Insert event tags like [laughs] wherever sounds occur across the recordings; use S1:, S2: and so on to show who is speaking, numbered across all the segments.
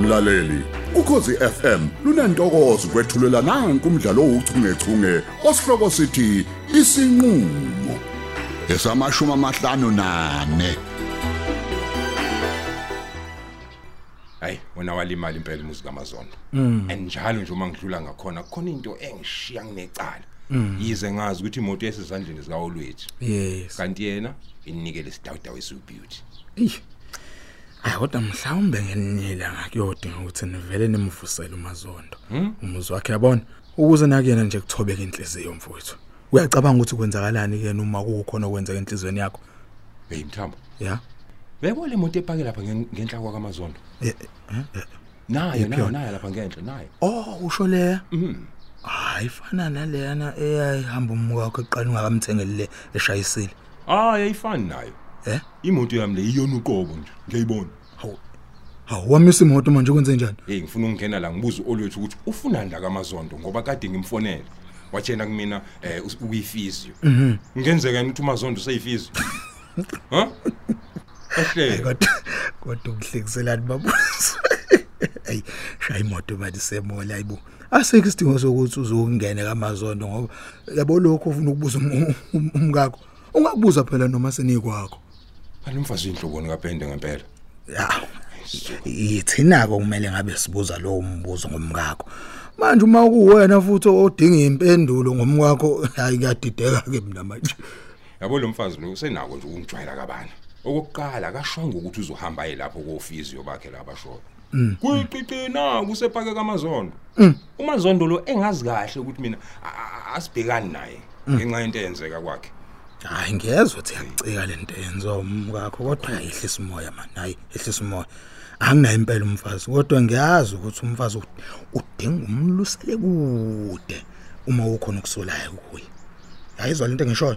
S1: mlaleli ukhosi FM lunantokozo kwethulela nanku umdlalo ouchungechunge osihloko sithi isinqulo esamashumi amahlanu nane
S2: hayi wona walimali impela umuzi kamazono andjalo nje uma ngidlula ngakhona kukhona into engishiya nginecala yize ngazi ukuthi imoto yesezandleni zikaolwethu
S3: yes
S2: kanti yena inikele isidawudawu esiwubeauty
S3: eyi ayi kodwa mhlawumbe ngelinye ilanga kuyodinga ukuthi nivele nimvusele umazondo umuzi wakhe yabona ukuze nakuyena nje kuthobeka inhliziyo mfowethu uyacabanga ukuthi kwenzakalani kuyena uma kukhona okwenzeka enhliziyweni yakho
S2: hey mthambo
S3: ya
S2: bebo le moto epake lapha ngen- ngenhla kwakamazondo
S3: Eh, eh, eh.
S2: nayo nayo
S3: Yona.
S2: nayo lapha ngenhla nayo
S3: oh usho leya hayi fana naleyana eyayihamba umuka wakho eqala ungakamthengeli le eshayisile
S2: ah yayifani nayo
S3: Eh?
S2: imoto yami le iyona uqobo nje ngiyayibona
S3: hawu hawu wamisa imoto manje kwenze njani
S2: hey ngifuna ukungena la ngibuze olwethu ukuthi ufuna ndla kamazondo ngoba kade ngimfonela watshena kumina eh us- ukuyifizio ngenzeka yini ukuthi umazondo useyifizio ha ahle
S3: kodwa kodwa umhlekiselani babuso ayi shaya imoto manje semola ayibo asikho isidingo sokuthi uzokungena kamazondo ngoba yabo lokho ufuna ukubuza umu- um- umkakho ungakubuza phela noma senikwakho
S2: alomfazi inhloboni kapende ngempela
S3: ya yithina-ke kumele ngabe sibuza lowo mbuzo ngomkakho manje uma kuwena futhi odinga impendulo ngomkwakho hayi kuyadideka-ke mina manje
S2: yabo lo mfazi lo usenako nje ukungijwayela kabana okokuqala akashongo ukuthi uzohamba aye lapho kofizio bakhe la abashoyo kuyiqicina kusepake kamazondo umazondo lo engazi kahle ukuthi mina a- a- a- asibhekani naye ngenxa yento eyenzeka kwakhe
S3: hhayi ngezwa thi yakucika le nto yenziwa umkakho kodwa ayehlisa umoya mani hhayi ehlisa umoya anginayo impela umfazi kodwa ngiyazi ukuthi umfazi u- udinga umlusele kude uma ukhona okusolayo kuye yayizwa le nto engishoyo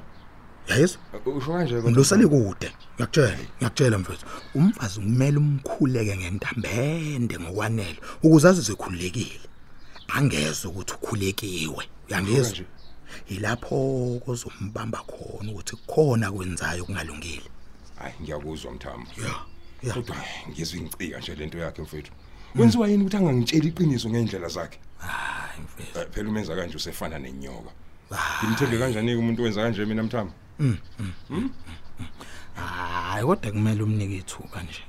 S3: yayizwa
S2: usho kanje kodwa?
S3: umlusele kude ngiyakutshela ngiyakutshela mfethu umfazi kumele umkhuleke ngentambende ngokwanele ukuze azizwe khululekile angeze ukuthi ukhulekiwe
S2: Ukhula
S3: uyangizwa
S2: nje.
S3: yilapho kozombamba khona ukuthi khona kwenzayo kungalungile
S2: hayi ngiyakuzwa mthambo
S3: ya
S2: kodwa ngizwe ngicika nje lento yakhe mfethu kwenziwa yini ukuthi angangitshela iqiniso ngendlela zakhe
S3: hayi mfethu
S2: Eh, phela umenza kanje usefana nenyoka ngimthembe kanjani umuntu wenza kanje mina mthambo
S3: hayi kodwa kumele umnike ithuba nje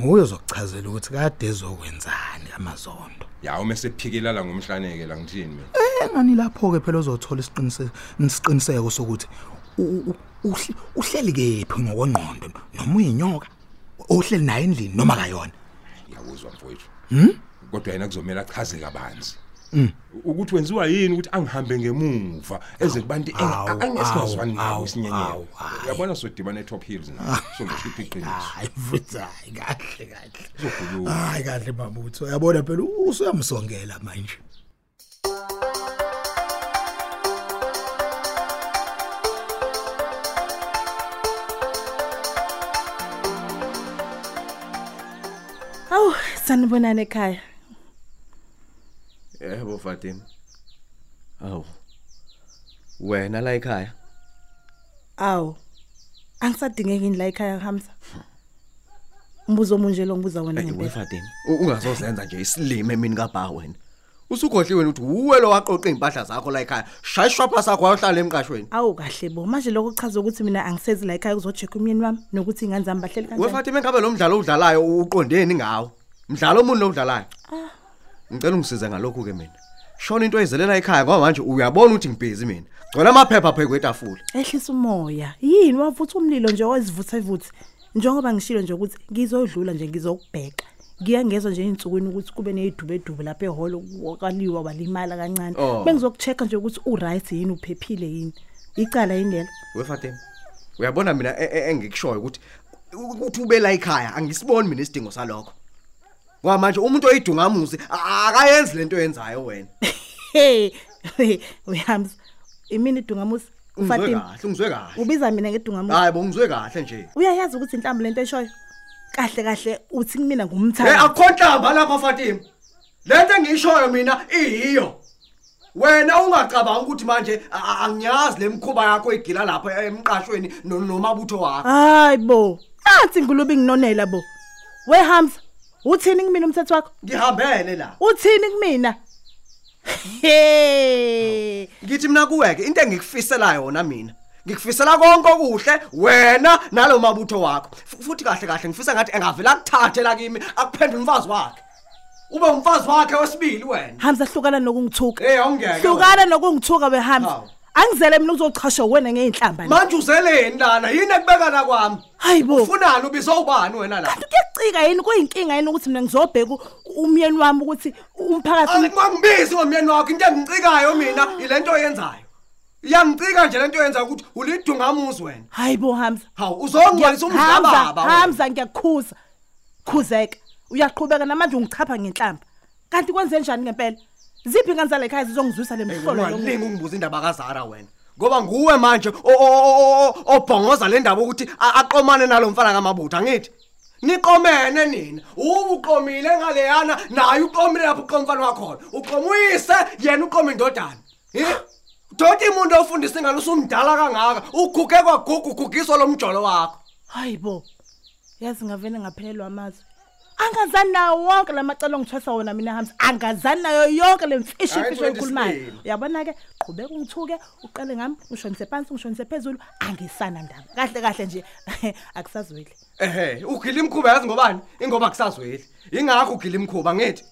S3: nguye ozokuchazela ukuthi kade ezokwenzani amazondo
S2: ya uma esephikelala ngomhlaneke la ngithini mina
S3: engani lapho-ke phela uzothola isiqiniseko- isiqiniseko sokuthi u- u- uhle- uhleli kephi ngokwengqondo noma uyinyoka uhleli naye endlini noma kayona
S2: ngiyakuzwa mfowethu
S3: Hmm?
S2: kodwa yena kuzomela achaze kabanzi ukuthi wenziwa yini ukuthi angihambe ngemuva eze kubantu engi-
S3: Awu, awu,
S2: engesingazwani nabo
S3: awu,
S2: isinyenyelo
S3: awu, hhayi.
S2: uyabona sodibana e-top hills na sozoshipha iqiniso
S3: hayi futhi hayi kahle kahle
S2: Uzokhuluma.
S3: hayi kahle mabutho uyabona phela usuyamsongela manje
S4: Awu, sanibonana ekhaya.
S5: Yebo Fatima. Awu. Wena la ekhaya.
S4: Awu. Angisadingeki ini la ekhaya Hamza. Umbuzo omunje lo ngibuza wona
S5: Eyiwe
S4: ngempela.
S5: Fatima. u- Ungazozenza nje isilime mina kabha wena. Usukhohliwe ukuthi uwe lo waqoqa izimpahla zakho la ekhaya. Shaya ishwapha sakho wayohlala emqashweni.
S4: Awu kahle bo. Manje lokho kuchaza ukuthi mina angisezi la ekhaya kuzocheck umyeni wami nokuthi ingane zami bahleli
S5: We
S4: kanjani.
S5: Fatima engabe lo mdlalo udlalayo uqondeni ngawo. Mdlalo omuni lo udlalayo. Ngicela ungisize ngalokho ke mina. Shona into eyizelela ekhaya ngoba manje uyabona ukuthi ngibhezi mina. Gcwala amaphepha phe kwetafula.
S4: Ehlisa umoya. Yini wavutha umlilo nje owezivuthavuthi. Njengoba ngishilo nje ukuthi ngizodlula nje ngizokubheka. Ngiyangezwa nje insukwini ukuthi kube nezidubedube lapha ehholo kwaliwa walimala kancane.
S5: Oh.
S4: Bengizokuchecka nje ukuthi uright yini uphephile yini. Icala yini lelo?
S5: We Fatima. Uyabona mina e- e- engikushoyo ukuthi ukuthi ube la ekhaya angisiboni mina isidingo salokho. Ngoba manje umuntu oyidungamuzi a- akayenzi lento oyenzayo wena.
S4: hey [laughs] uyamza imini dungamusi
S5: Ungizwe
S4: ufatima
S5: kahle, ungizwe kahle. Ah.
S4: ubiza mina ngedungamusi
S5: Hayi bo ngizwe kahle nje.
S4: uyayazi ukuthi inhlamvu lento eshoyo kahle kahle uthi kumina
S5: Eh
S4: ngumthanda
S5: akukhonhlamba lapha Fatima. Lento engishoyo mina iyiyo. Wena ungacabanga ukuthi manje a- a- angiyazi lemkhuba yakho egila lapha emqashweni no- nomabutho wakho.
S4: hayi bo nathi ngulube nginonela bo wehamza uthini kimi umthetho wakho
S5: ngihambele la
S4: uthini kumina he
S5: ngithi mina kuweke into engikufisela yona mina ngikufisela konke okuhle wena nalo mabutho wakho F- futhi kahle kahle ngifisa ngathi engavela akuthathe la kimi akuphendule umfazi wakhe ube umfazi wakhe wesibili wena
S4: Hamza hlukana nokungithuka.
S5: Eh, awungeke
S4: Hlukana nokungithuka behamza.
S5: Hawu.
S4: Angizele mina uzochasha wena ngeenhlamba ni.
S5: manje uzeleni lana yini ekubekana kwami
S4: Hayibo.
S5: ufunani ubizo ubani wena la
S4: Kanti kuyacika yini kuyinkinga yini ukuthi mina ngizobheka u- umyeni wami ukuthi umphakathi
S5: angibangibizi ngomyeni wakho into engicikayo mina ilento oyenzayo iyangicika nje lento oyenzayo ukuthi ulidungamuzi wena
S4: Hayibo Hamza.
S5: hawu uzongcwalisa umhlababa wena.
S4: Hamza ngiyakukhuza. Khuzeka. Uyaqhubeka namanje ungichapha ngenhlamba. Kanti kwenze njani ngempela? Ziphi kanzala ekhaya zizongizwisa lemhlolo lo.
S5: ungalingi ungibuza indaba kaZara wena ngoba nguwe manje o- o- o- o- obhongoza le ndaba ukuthi a- aqomane nalo mfana kamabutho angithi niqomene nina uba uqomile ngaleyana naye uqomile lapho uqoma umfana wakhona uqoma uyise yena uqoma indodana Eh? doda imuntu ofundisa ingane usumdala kangaka uguge kwagugu ugugiswa lo mjolo wakho
S4: Hayibo. Yazi ngavene ngaphelelwa amazwi. Angazani nawo wonke lamacala ongithwesa wona mina Hamza. Angazani nayo yonke lemfishi
S5: Hhayi,
S4: imfishi oyikhulumayo.
S5: Ntwentisipili.
S4: Uyabona ke, qhubeka ungithuke, uqale ngami, ngishonise phansi, ngishonise phezulu, angisana ndaba. Kahle kahle nje [laughs] akusazweli.
S5: ehe ugila imkhuba yazi ngobani ingoba kusazweli ingakho ugila imkhuba ngithi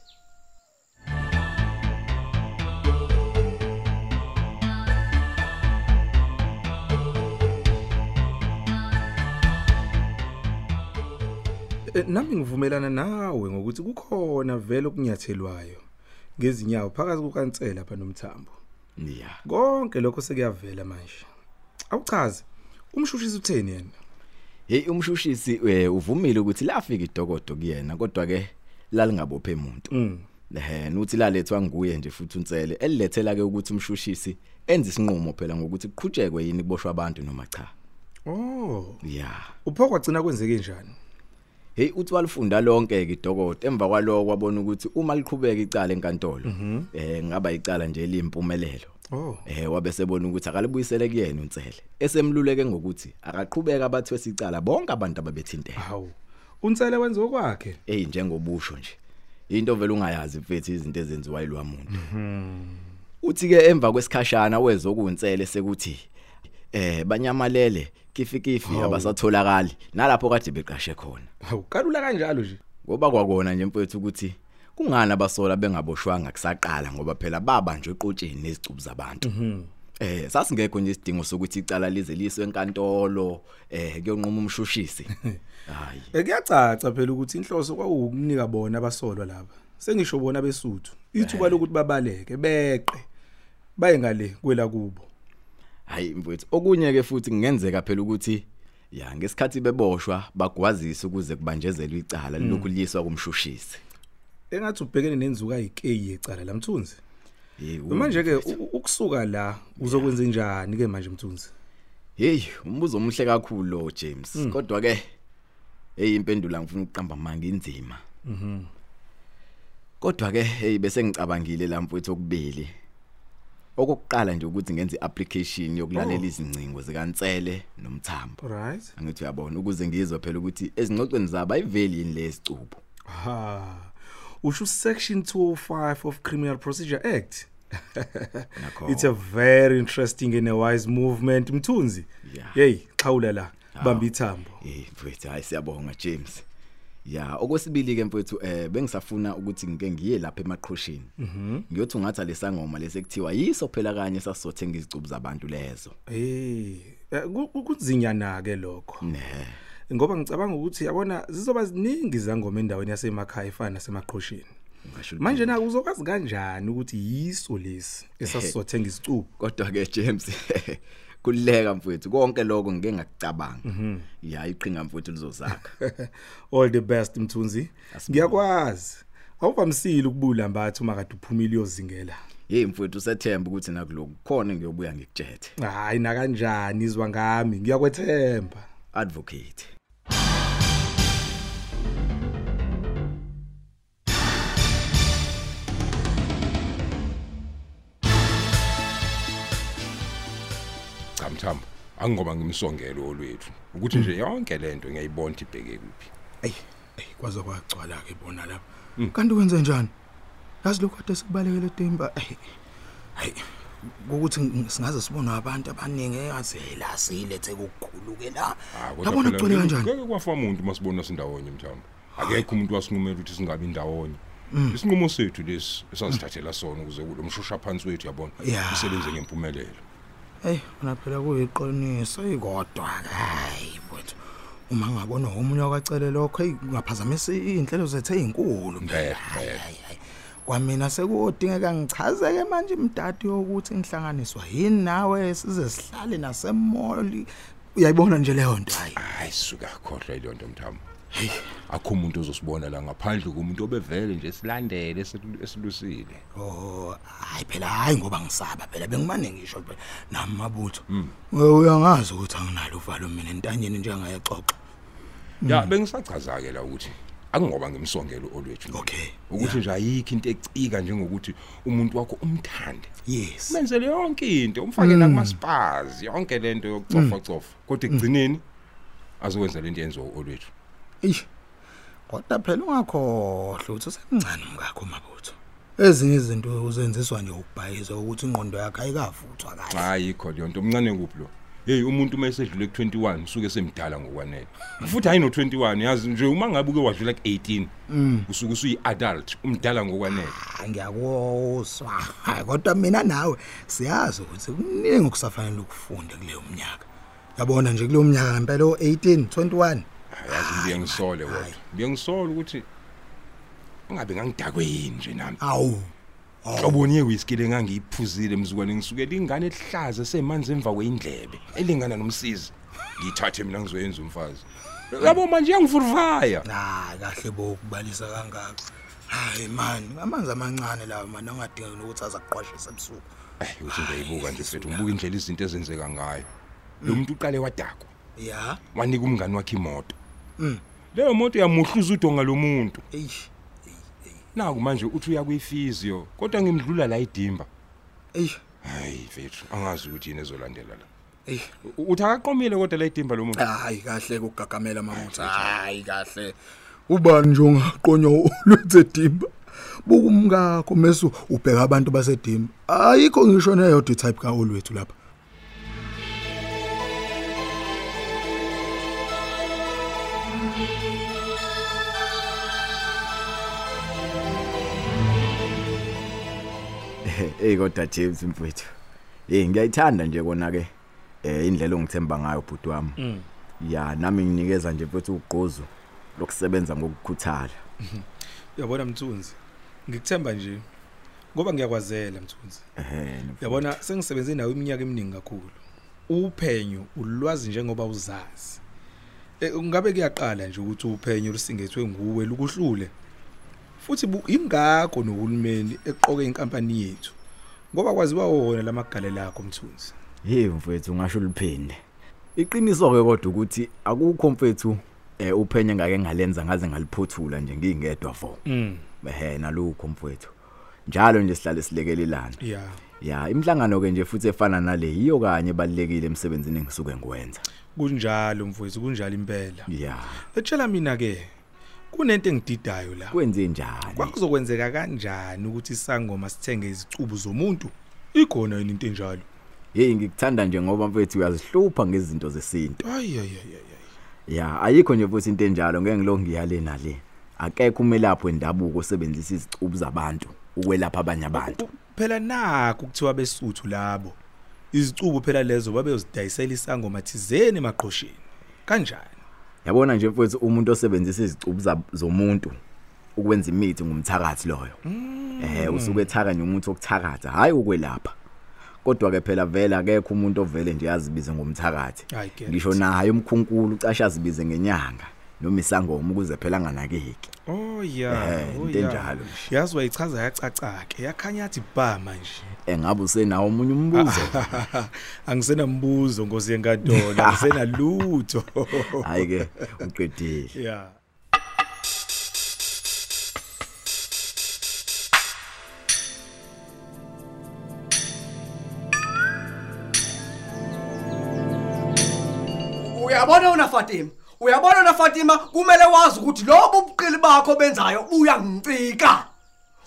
S3: Eh, nami ngivumelana nawe ngokuthi kukhona vele okunyathelwayo ngezinyawo phakathi kukansela pha nomthambo
S2: ya
S3: konke lokho sekuyavela manje awuchaze umshushisi utheni yena
S6: hey umshushisi eh, uvumile ukuthi lafika idokodo kuyena kodwa ke lalingabophe umuntu ehe nuthi lalethwa nguye nje futhi unsele elilethela ke ukuthi umshushisi enze isinqumo phela ngokuthi kuqhutshekwe yini kuboshwa abantu noma cha
S3: oh
S6: yeah
S3: upho kwagcina kwenzeke njani
S6: hey uthi walifunda lonke ke idokodo emva kwaloko kwabona ukuthi uma liqhubeka icala enkantolo eh ngaba icala nje elimpumelelo
S3: oh
S6: Eh wabe sebona ukuthi akalibuyisele kuyena unsele esemluleke ngokuthi akaqhubeka abathwe sicala bonke abantu ababethintela
S3: hawu unsele wenze okwakhe
S6: hey njengobusho nje into vele ungayazi mfethu izinto ezenziwa ilwamuntu uthi ke emva kwesikhashana wezokuntsele sekuthi eh banyamalele kifikifi abasatholakali nalapho kade beqashe khona
S3: hawu kalula kanjalo nje
S6: ngoba kwakona nje mfethu ukuthi kungani abasola bengaboshwanga kusaqala ngoba phela baba nje eqotsheni nezicubu zabantu Eh sasingekho nje isidingo sokuthi icala lize liswe enkantolo eh kuyonquma umshushisi hayi
S3: bekuyacaca phela ukuthi inhloso kwawukunika bona abasolwa laba sengisho bona besuthu ithuba lokuthi babaleke beqe baye ngale kwela kubo
S6: hayi mfowethu okunye ke futhi kungenzeka phela ukuthi ya ngesikhathi beboshwa bagwazisa ukuze kubanjezelwe icala lokhu liyiswa kumshushisi
S3: engathi ubhekene nenzuka ayikeyi yecala lamthunzi
S6: hey
S3: manje ke ukusuka la uzokwenza njani ke manje mthunzi
S6: hey umbuzo omuhle kakhulu lo James kodwa ke hey impendula ngifuna ukuqamba manga inzima mhm kodwa ke hey bese ngicabangile la mfowethu okubili okokuqala nje ukuthi ngenze iapplication yokulalela izingcingo zikaNtsele nomthambo
S3: right
S6: angithi uyabona ukuze ngizwe phela ukuthi ezingxoxweni zabo ayiveli yini lesicubo
S3: ha usho section 205 of criminal procedure act
S6: Nakho.
S3: it's a very interesting and a wise movement mthunzi
S6: Yeah.
S3: hey xhawula la bamba ithambo
S6: Eh mfethu hayi siyabonga James. Ya okwesibili ke mfethu eh bengisafuna ukuthi ngike ngiye lapha emaqhoshini. Ngiyothi ungatha lesangoma lesekuthiwa yiso phela kanye sasizothenga izicubu zabantu lezo.
S3: hey eh, ku- ku- kunzinyana ke lokho
S6: Ne.
S3: ngoba ngicabanga ukuthi yabona zizoba ziningi zangoma endaweni yasemakhaya efana nasemaqhosheni
S6: Ngisho
S3: manje na uzokwazi kanjani ukuthi yiso lesi esasizothenga isicubu
S6: kodwa ke James [laughs] kuleka mfethu konke lokho ngike ngakucabanga. Ya iqhinga mfethu lizozakha. [laughs]
S3: all the best mthunzi ngiyakwazi awuvamisile ukubula mbathu makade uphumile uyozingela
S6: Hey mfethu sethemba ukuthi nakuloku khona ngiyobuya ngikutshethe.
S3: hayi nakanjani izwa ngami ngiyakwethemba
S6: Advocate.
S2: cha mthambo angingoba ngimsongelo olwethu ukuthi nje yonke lento ngiyayibona ukuthi ibheke kuphi
S3: eyi eyi kwaze kwagcwala ke bona lapha
S2: Mm.
S3: kanti wenze njani yazi lokho kade sikubalekele temba eyi hayi ukuthi singaze sibone abantu abaningi eyazela silethe kukhuluke la
S2: Ah, kodwa
S3: yabona
S2: phela
S3: kugcwele
S2: ngeke-
S3: kanjani
S2: Ngeke kwafa umuntu masibona sindawonye mthambo. Akekho umuntu wasinqumela ukuthi singabi ndawonye.
S3: Mm.
S2: Isinqumo sethu lesi esasithathela sona ukuze lo mshusha phansi wethu yabona
S3: Ya.
S2: isebenze ngempumelelo.
S3: Hey, mina phela kuyiqiniso ikodwa hayi mfowethu. Uma ngabona omunye wakacele lokho, hey ngaphazamisa izinhlelo zethu ezinkulu.
S2: Ngeke.
S3: Kwamina sekudingeka ngichazeke manje imdadi yokuthi ngihlanganiswa yini nawe size sihlale nasemoli. Uyayibona nje leyo nto hayi.
S2: Hayi suka khohlwa ile nto mthambo. Akho umuntu ozosibona la ngaphandle komuntu obevele nje silandele esilu- esilusile.
S3: Oh, hayi phela hayi ngoba ngisaba phela bengimane ngisho phela namabutho. Wewe uyangazi ukuthi anginalo uvalo mina entanyeni njengayexoxa.
S2: Ya bengisachaza ke la ukuthi akungoba ngimsongelo olwethu. mina.
S3: Okay.
S2: Ukuthi nje ayikho into ecika njengokuthi umuntu wakho umthande.
S3: Yes.
S2: Menzele yonke into, umfake na kuma spas, yonke lento yokucofa cofa. Kodwa ekugcineni azokwenza lento yenzo olwethu.
S3: Eish. Kodwa phela ungakhohle ukuthi usemncane mngakho mabutho. Ezinye izinto uzenziswa nje ukubhayizwa ukuthi ingqondo yakhe ayikavuthwa kahle.
S2: Hayi ikho leyo nto mncane kuphi lo? Hey umuntu mayesedlule ku21 usuke semdala ngokwanele. Futhi hayi no21 yazi nje uma ngabe uke wadlula ku18 usuke usuyi adult, umdala ngokwanele.
S3: Hayi ngiyakuzwa. Hayi kodwa mina nawe siyazi ukuthi kuningi okusafanele ukufunde kuleyo mnyaka. Yabona nje kuleyo mnyaka ngempela o18 21.
S2: Yazi ngiye ngisole kodwa. Ngiye ngisole ukuthi ungabe ngangidakwe yini nje nami.
S3: Awu.
S2: Hloboni yewhisky lengangiyiphuzile mzukwane ngisuke lingane lihlaza semanzi emva kweindlebe elingana nomsizi ngithathe mina ngizoyenza umfazi yabo manje yangivurvaya
S3: Hayi kahle bokubalisa kangaka. Hayi man, amanzi amancane lawo man angadingi ukuthi azaqwashise ebusuku.
S2: Eh, uthi ngiyayibuka nje mfethu ngibuka indlela izinto ezenzeka ngayo lo muntu uqale wadakwa
S3: Ya.
S2: wanika umngani wakhe imoto Mm. leyo moto yamuhluza udonga lomuntu
S3: Eish.
S2: naku manje uthi uya kuyifizio kodwa ngimdlula la idimba
S3: Eish.
S2: hayi mfethu angazi ukuthi yini ezolandela la
S3: Eish.
S2: U- uthi akaqomile kodwa la idimba lo muntu
S3: hayi kahle ukugagamela mamutha hayi kahle ubani nje ongaqonywa lwethe dimba bukumkakho mesu ubheka abantu basedimba ayikho ngisho neyodwa type ka olwethu lapha
S6: Hey Eh, kodwa James mfowethu. Eh ngiyayithanda nje kona ke eh indlela ongithemba ngayo bhuti wami. Ya nami nginikeza nje mfowethu ugqozo lokusebenza ngokukhuthala.
S7: Uyabona Mthunzi. Ngikuthemba nje ngoba ngiyakwazela Mthunzi.
S6: Ehhe.
S7: Uyabona sengisebenze nawe iminyaka eminingi kakhulu. Uphenyo ulwazi njengoba uzazi. Eh ungabe kuyaqala nje ukuthi uphenyo lusingethwe nguwe lukuhlule. Futhi bu- ingakho nohulumeni eqoke inkampani yethu. Ngoba kwaziwa wona lamagalela akho Mthunzi.
S6: Hey mfowethu ngasho liphinde. Iqiniso ke kodwa ukuthi akukho mfowethu eh uphenye ngake ngalenza ngaze ngaliphothula nje ngingedwa vo.
S7: Mm.
S6: Ehhe nalukho mfowethu. Njalo nje sihlale silekelelana.
S7: Yeah.
S6: Ya imhlangano ke nje futhi efana nale yiyo kanye ebalekile emsebenzini engisuke ngiwenza.
S7: Kunjalo mfowethu kunjalo impela.
S6: Ya
S7: Etshela mina ke kunento engididayo la.
S6: kwenze njani?
S7: Kwakuzokwenzeka kanjani ukuthi isangoma sithenge izicubu zomuntu? Ikhona yini into enjalo?
S6: Hey ngikuthanda nje ngoba mfethu uyazihlupha ngezinto zesintu.
S7: Ayayayayay.
S6: Ya ayikho nje futhi into enjalo ngeke ngilongiyale nale. Akekho umelaphi wendabuko osebenzisa izicubu zabantu ukwelapha abanye abantu.
S7: Phela nakho kuthiwa besuthu labo. Izicubu phela lezo babeyozidayisela isangoma thizeni emaqhosheni. Kanjani?
S6: Yabona nje mfowethu umuntu osebenzisa izicubu za- zomuntu ukwenza imithi ngumthakathi loyo. Eh
S7: Hmm.
S6: usuke ethaka nje umuntu okuthakatha hayi ukwelapha. Kodwa ke phela vele akekho umuntu ovele nje yazibize ngumthakathi.
S7: I get it.
S6: Ngisho naye umkhunkulu ucasha azibize ngenyanga noma isangoma ukuze phela anganakeki.
S7: Oh yeah,
S6: Eh,
S7: oh
S6: into
S7: yeah.
S6: enjalo nje.
S7: Yazi wayichaza yacacake, yakhanya yathi ba manje.
S6: Engabe usenawo omunye umbuzo.
S7: [laughs]
S3: Ah.
S7: Angisenambuzo ngosi yenkantolo, angisenalutho. [laughs]
S6: Hayi ke uqedile.
S7: Yeah.
S5: uyabona wena fatima uyabona na Fatima kumele wazi ukuthi lobo ubuqili bakho benzayo uyangicika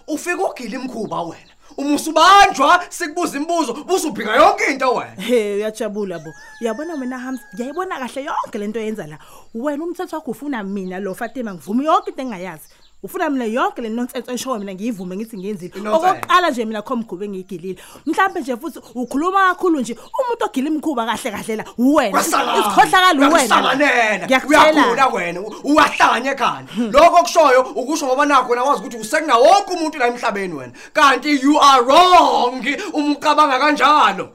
S5: ufika ugila imkhuba wena uma usubanjwa sikubuza imibuzo busubhika yonke into wena
S4: he uyajabula bo uyabona wena hamza ngiyayibona kahle yonke lento yenza la wena umthetho wakho ufuna mina lo fatima ngivume yonke into engayazi ufuna mina yonke le nonsense eshoyo mina ngiyivume ngithi ngiyenzile
S5: Nonsense.
S4: okokuqala nje mina kho mgube ngiyigilile mhlawumbe nje futhi ukhuluma kakhulu nje umuntu ogila imikhuba kahle kahle la uwena isikhohlakala uwena
S5: uwena uyagula wena u- uyahlanya ekhanda lokho kushoyo ukusho ngoba nakho wena wazi ukuthi usekuna wonke umuntu la emhlabeni wena kanti you are wrong uma ucabanga kanjalo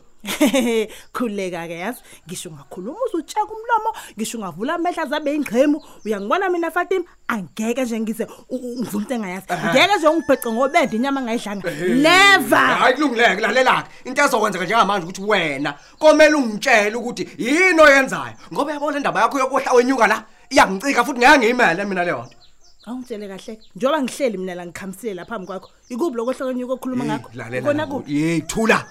S4: [laughs] khuleka ke yazi ngisho ungakhuluma uzutsheka umlomo ngisho ungavula amehla azabe ingqhemu uyangibona mina fatima angeke nje ngize u- u- ngivule into engayazi ngeke nje ungibheqe ngobende inyama angayidlanga never
S5: Eh, hayi kulungileke lalela-ke into ezokwenzeka njengamanje ukuthi wena komele ungitshele ukuthi yini oyenzayo ngoba yabo le ndaba yakho yokwehla wenyuka la iyangicika futhi ngeke ngiyimele mina leyo nto
S4: awungitshele kahle njengoba ngihleli mina la ngikhamisile la phambi kwakho ikubi lokho hlokenyuko okhuluma ngakho kona kuphi
S5: yeyi thula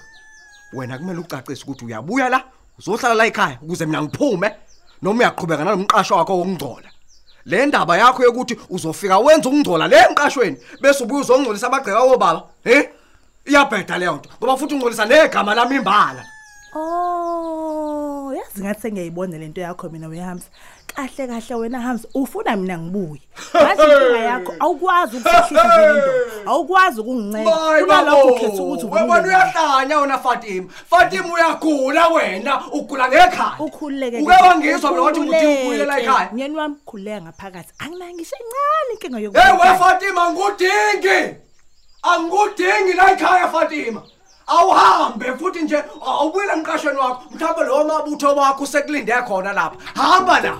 S5: wena kumele ucacise ukuthi uyabuya la uzohlala la ekhaya ukuze mina ngiphume noma uyaqhubeka nalo mqasho wakho wokungcola le ndaba yakho yokuthi uzofika wenze ukungcola le emqashweni bese ubuye uzongcolisa abagceka wobaba em iyabheda leyo nto ngoba futhi ungcolisa negama lami imbala
S4: Oh, yazi ngathi sengiyayibona lento yakho mina wehamza. Kahle kahle wena Hamza, ufuna mina ngibuye. Ngathi inkinga yakho awukwazi ukuhlisa njengendoda. Awukwazi ukungincela.
S5: Hayi,
S4: Kunalokho
S5: babo.
S4: ukhetha ukuthi
S5: webona
S4: ubone.
S5: uyahlanya wena Fatima. Fatima uyagula wena, ugula ngekhaya.
S4: Ukhululeke.
S5: Uke wangizwa mina wathi ukuthi ubuyele la ekhaya.
S4: Myeni wami khuleka ngaphakathi. Anginayo ngisho encane inkinga
S5: Hey we
S4: yokuthi.
S5: Fatima ngudingi. Angudingi la ekhaya Fatima. Awuhambe futhi nje awubuyela ngiqashweni wakho. Mhlawumbe lo mabutho wakho sekulinde khona lapha. Hamba la.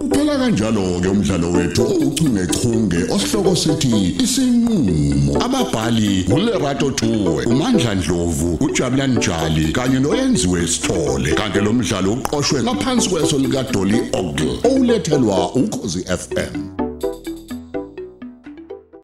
S1: Uphela kanjalo ke umdlalo wethu ouchungechunge osihloko sithi isinqulo. Ababhali uLerato Tuwe, uMandla Dlovu, uJabulani Njali kanye noyenziwe Sithole. Kanti lo mdlalo uqoqwwe ngaphansi kweso lika Dolly Ogle. Olethelwa ukhosi FM.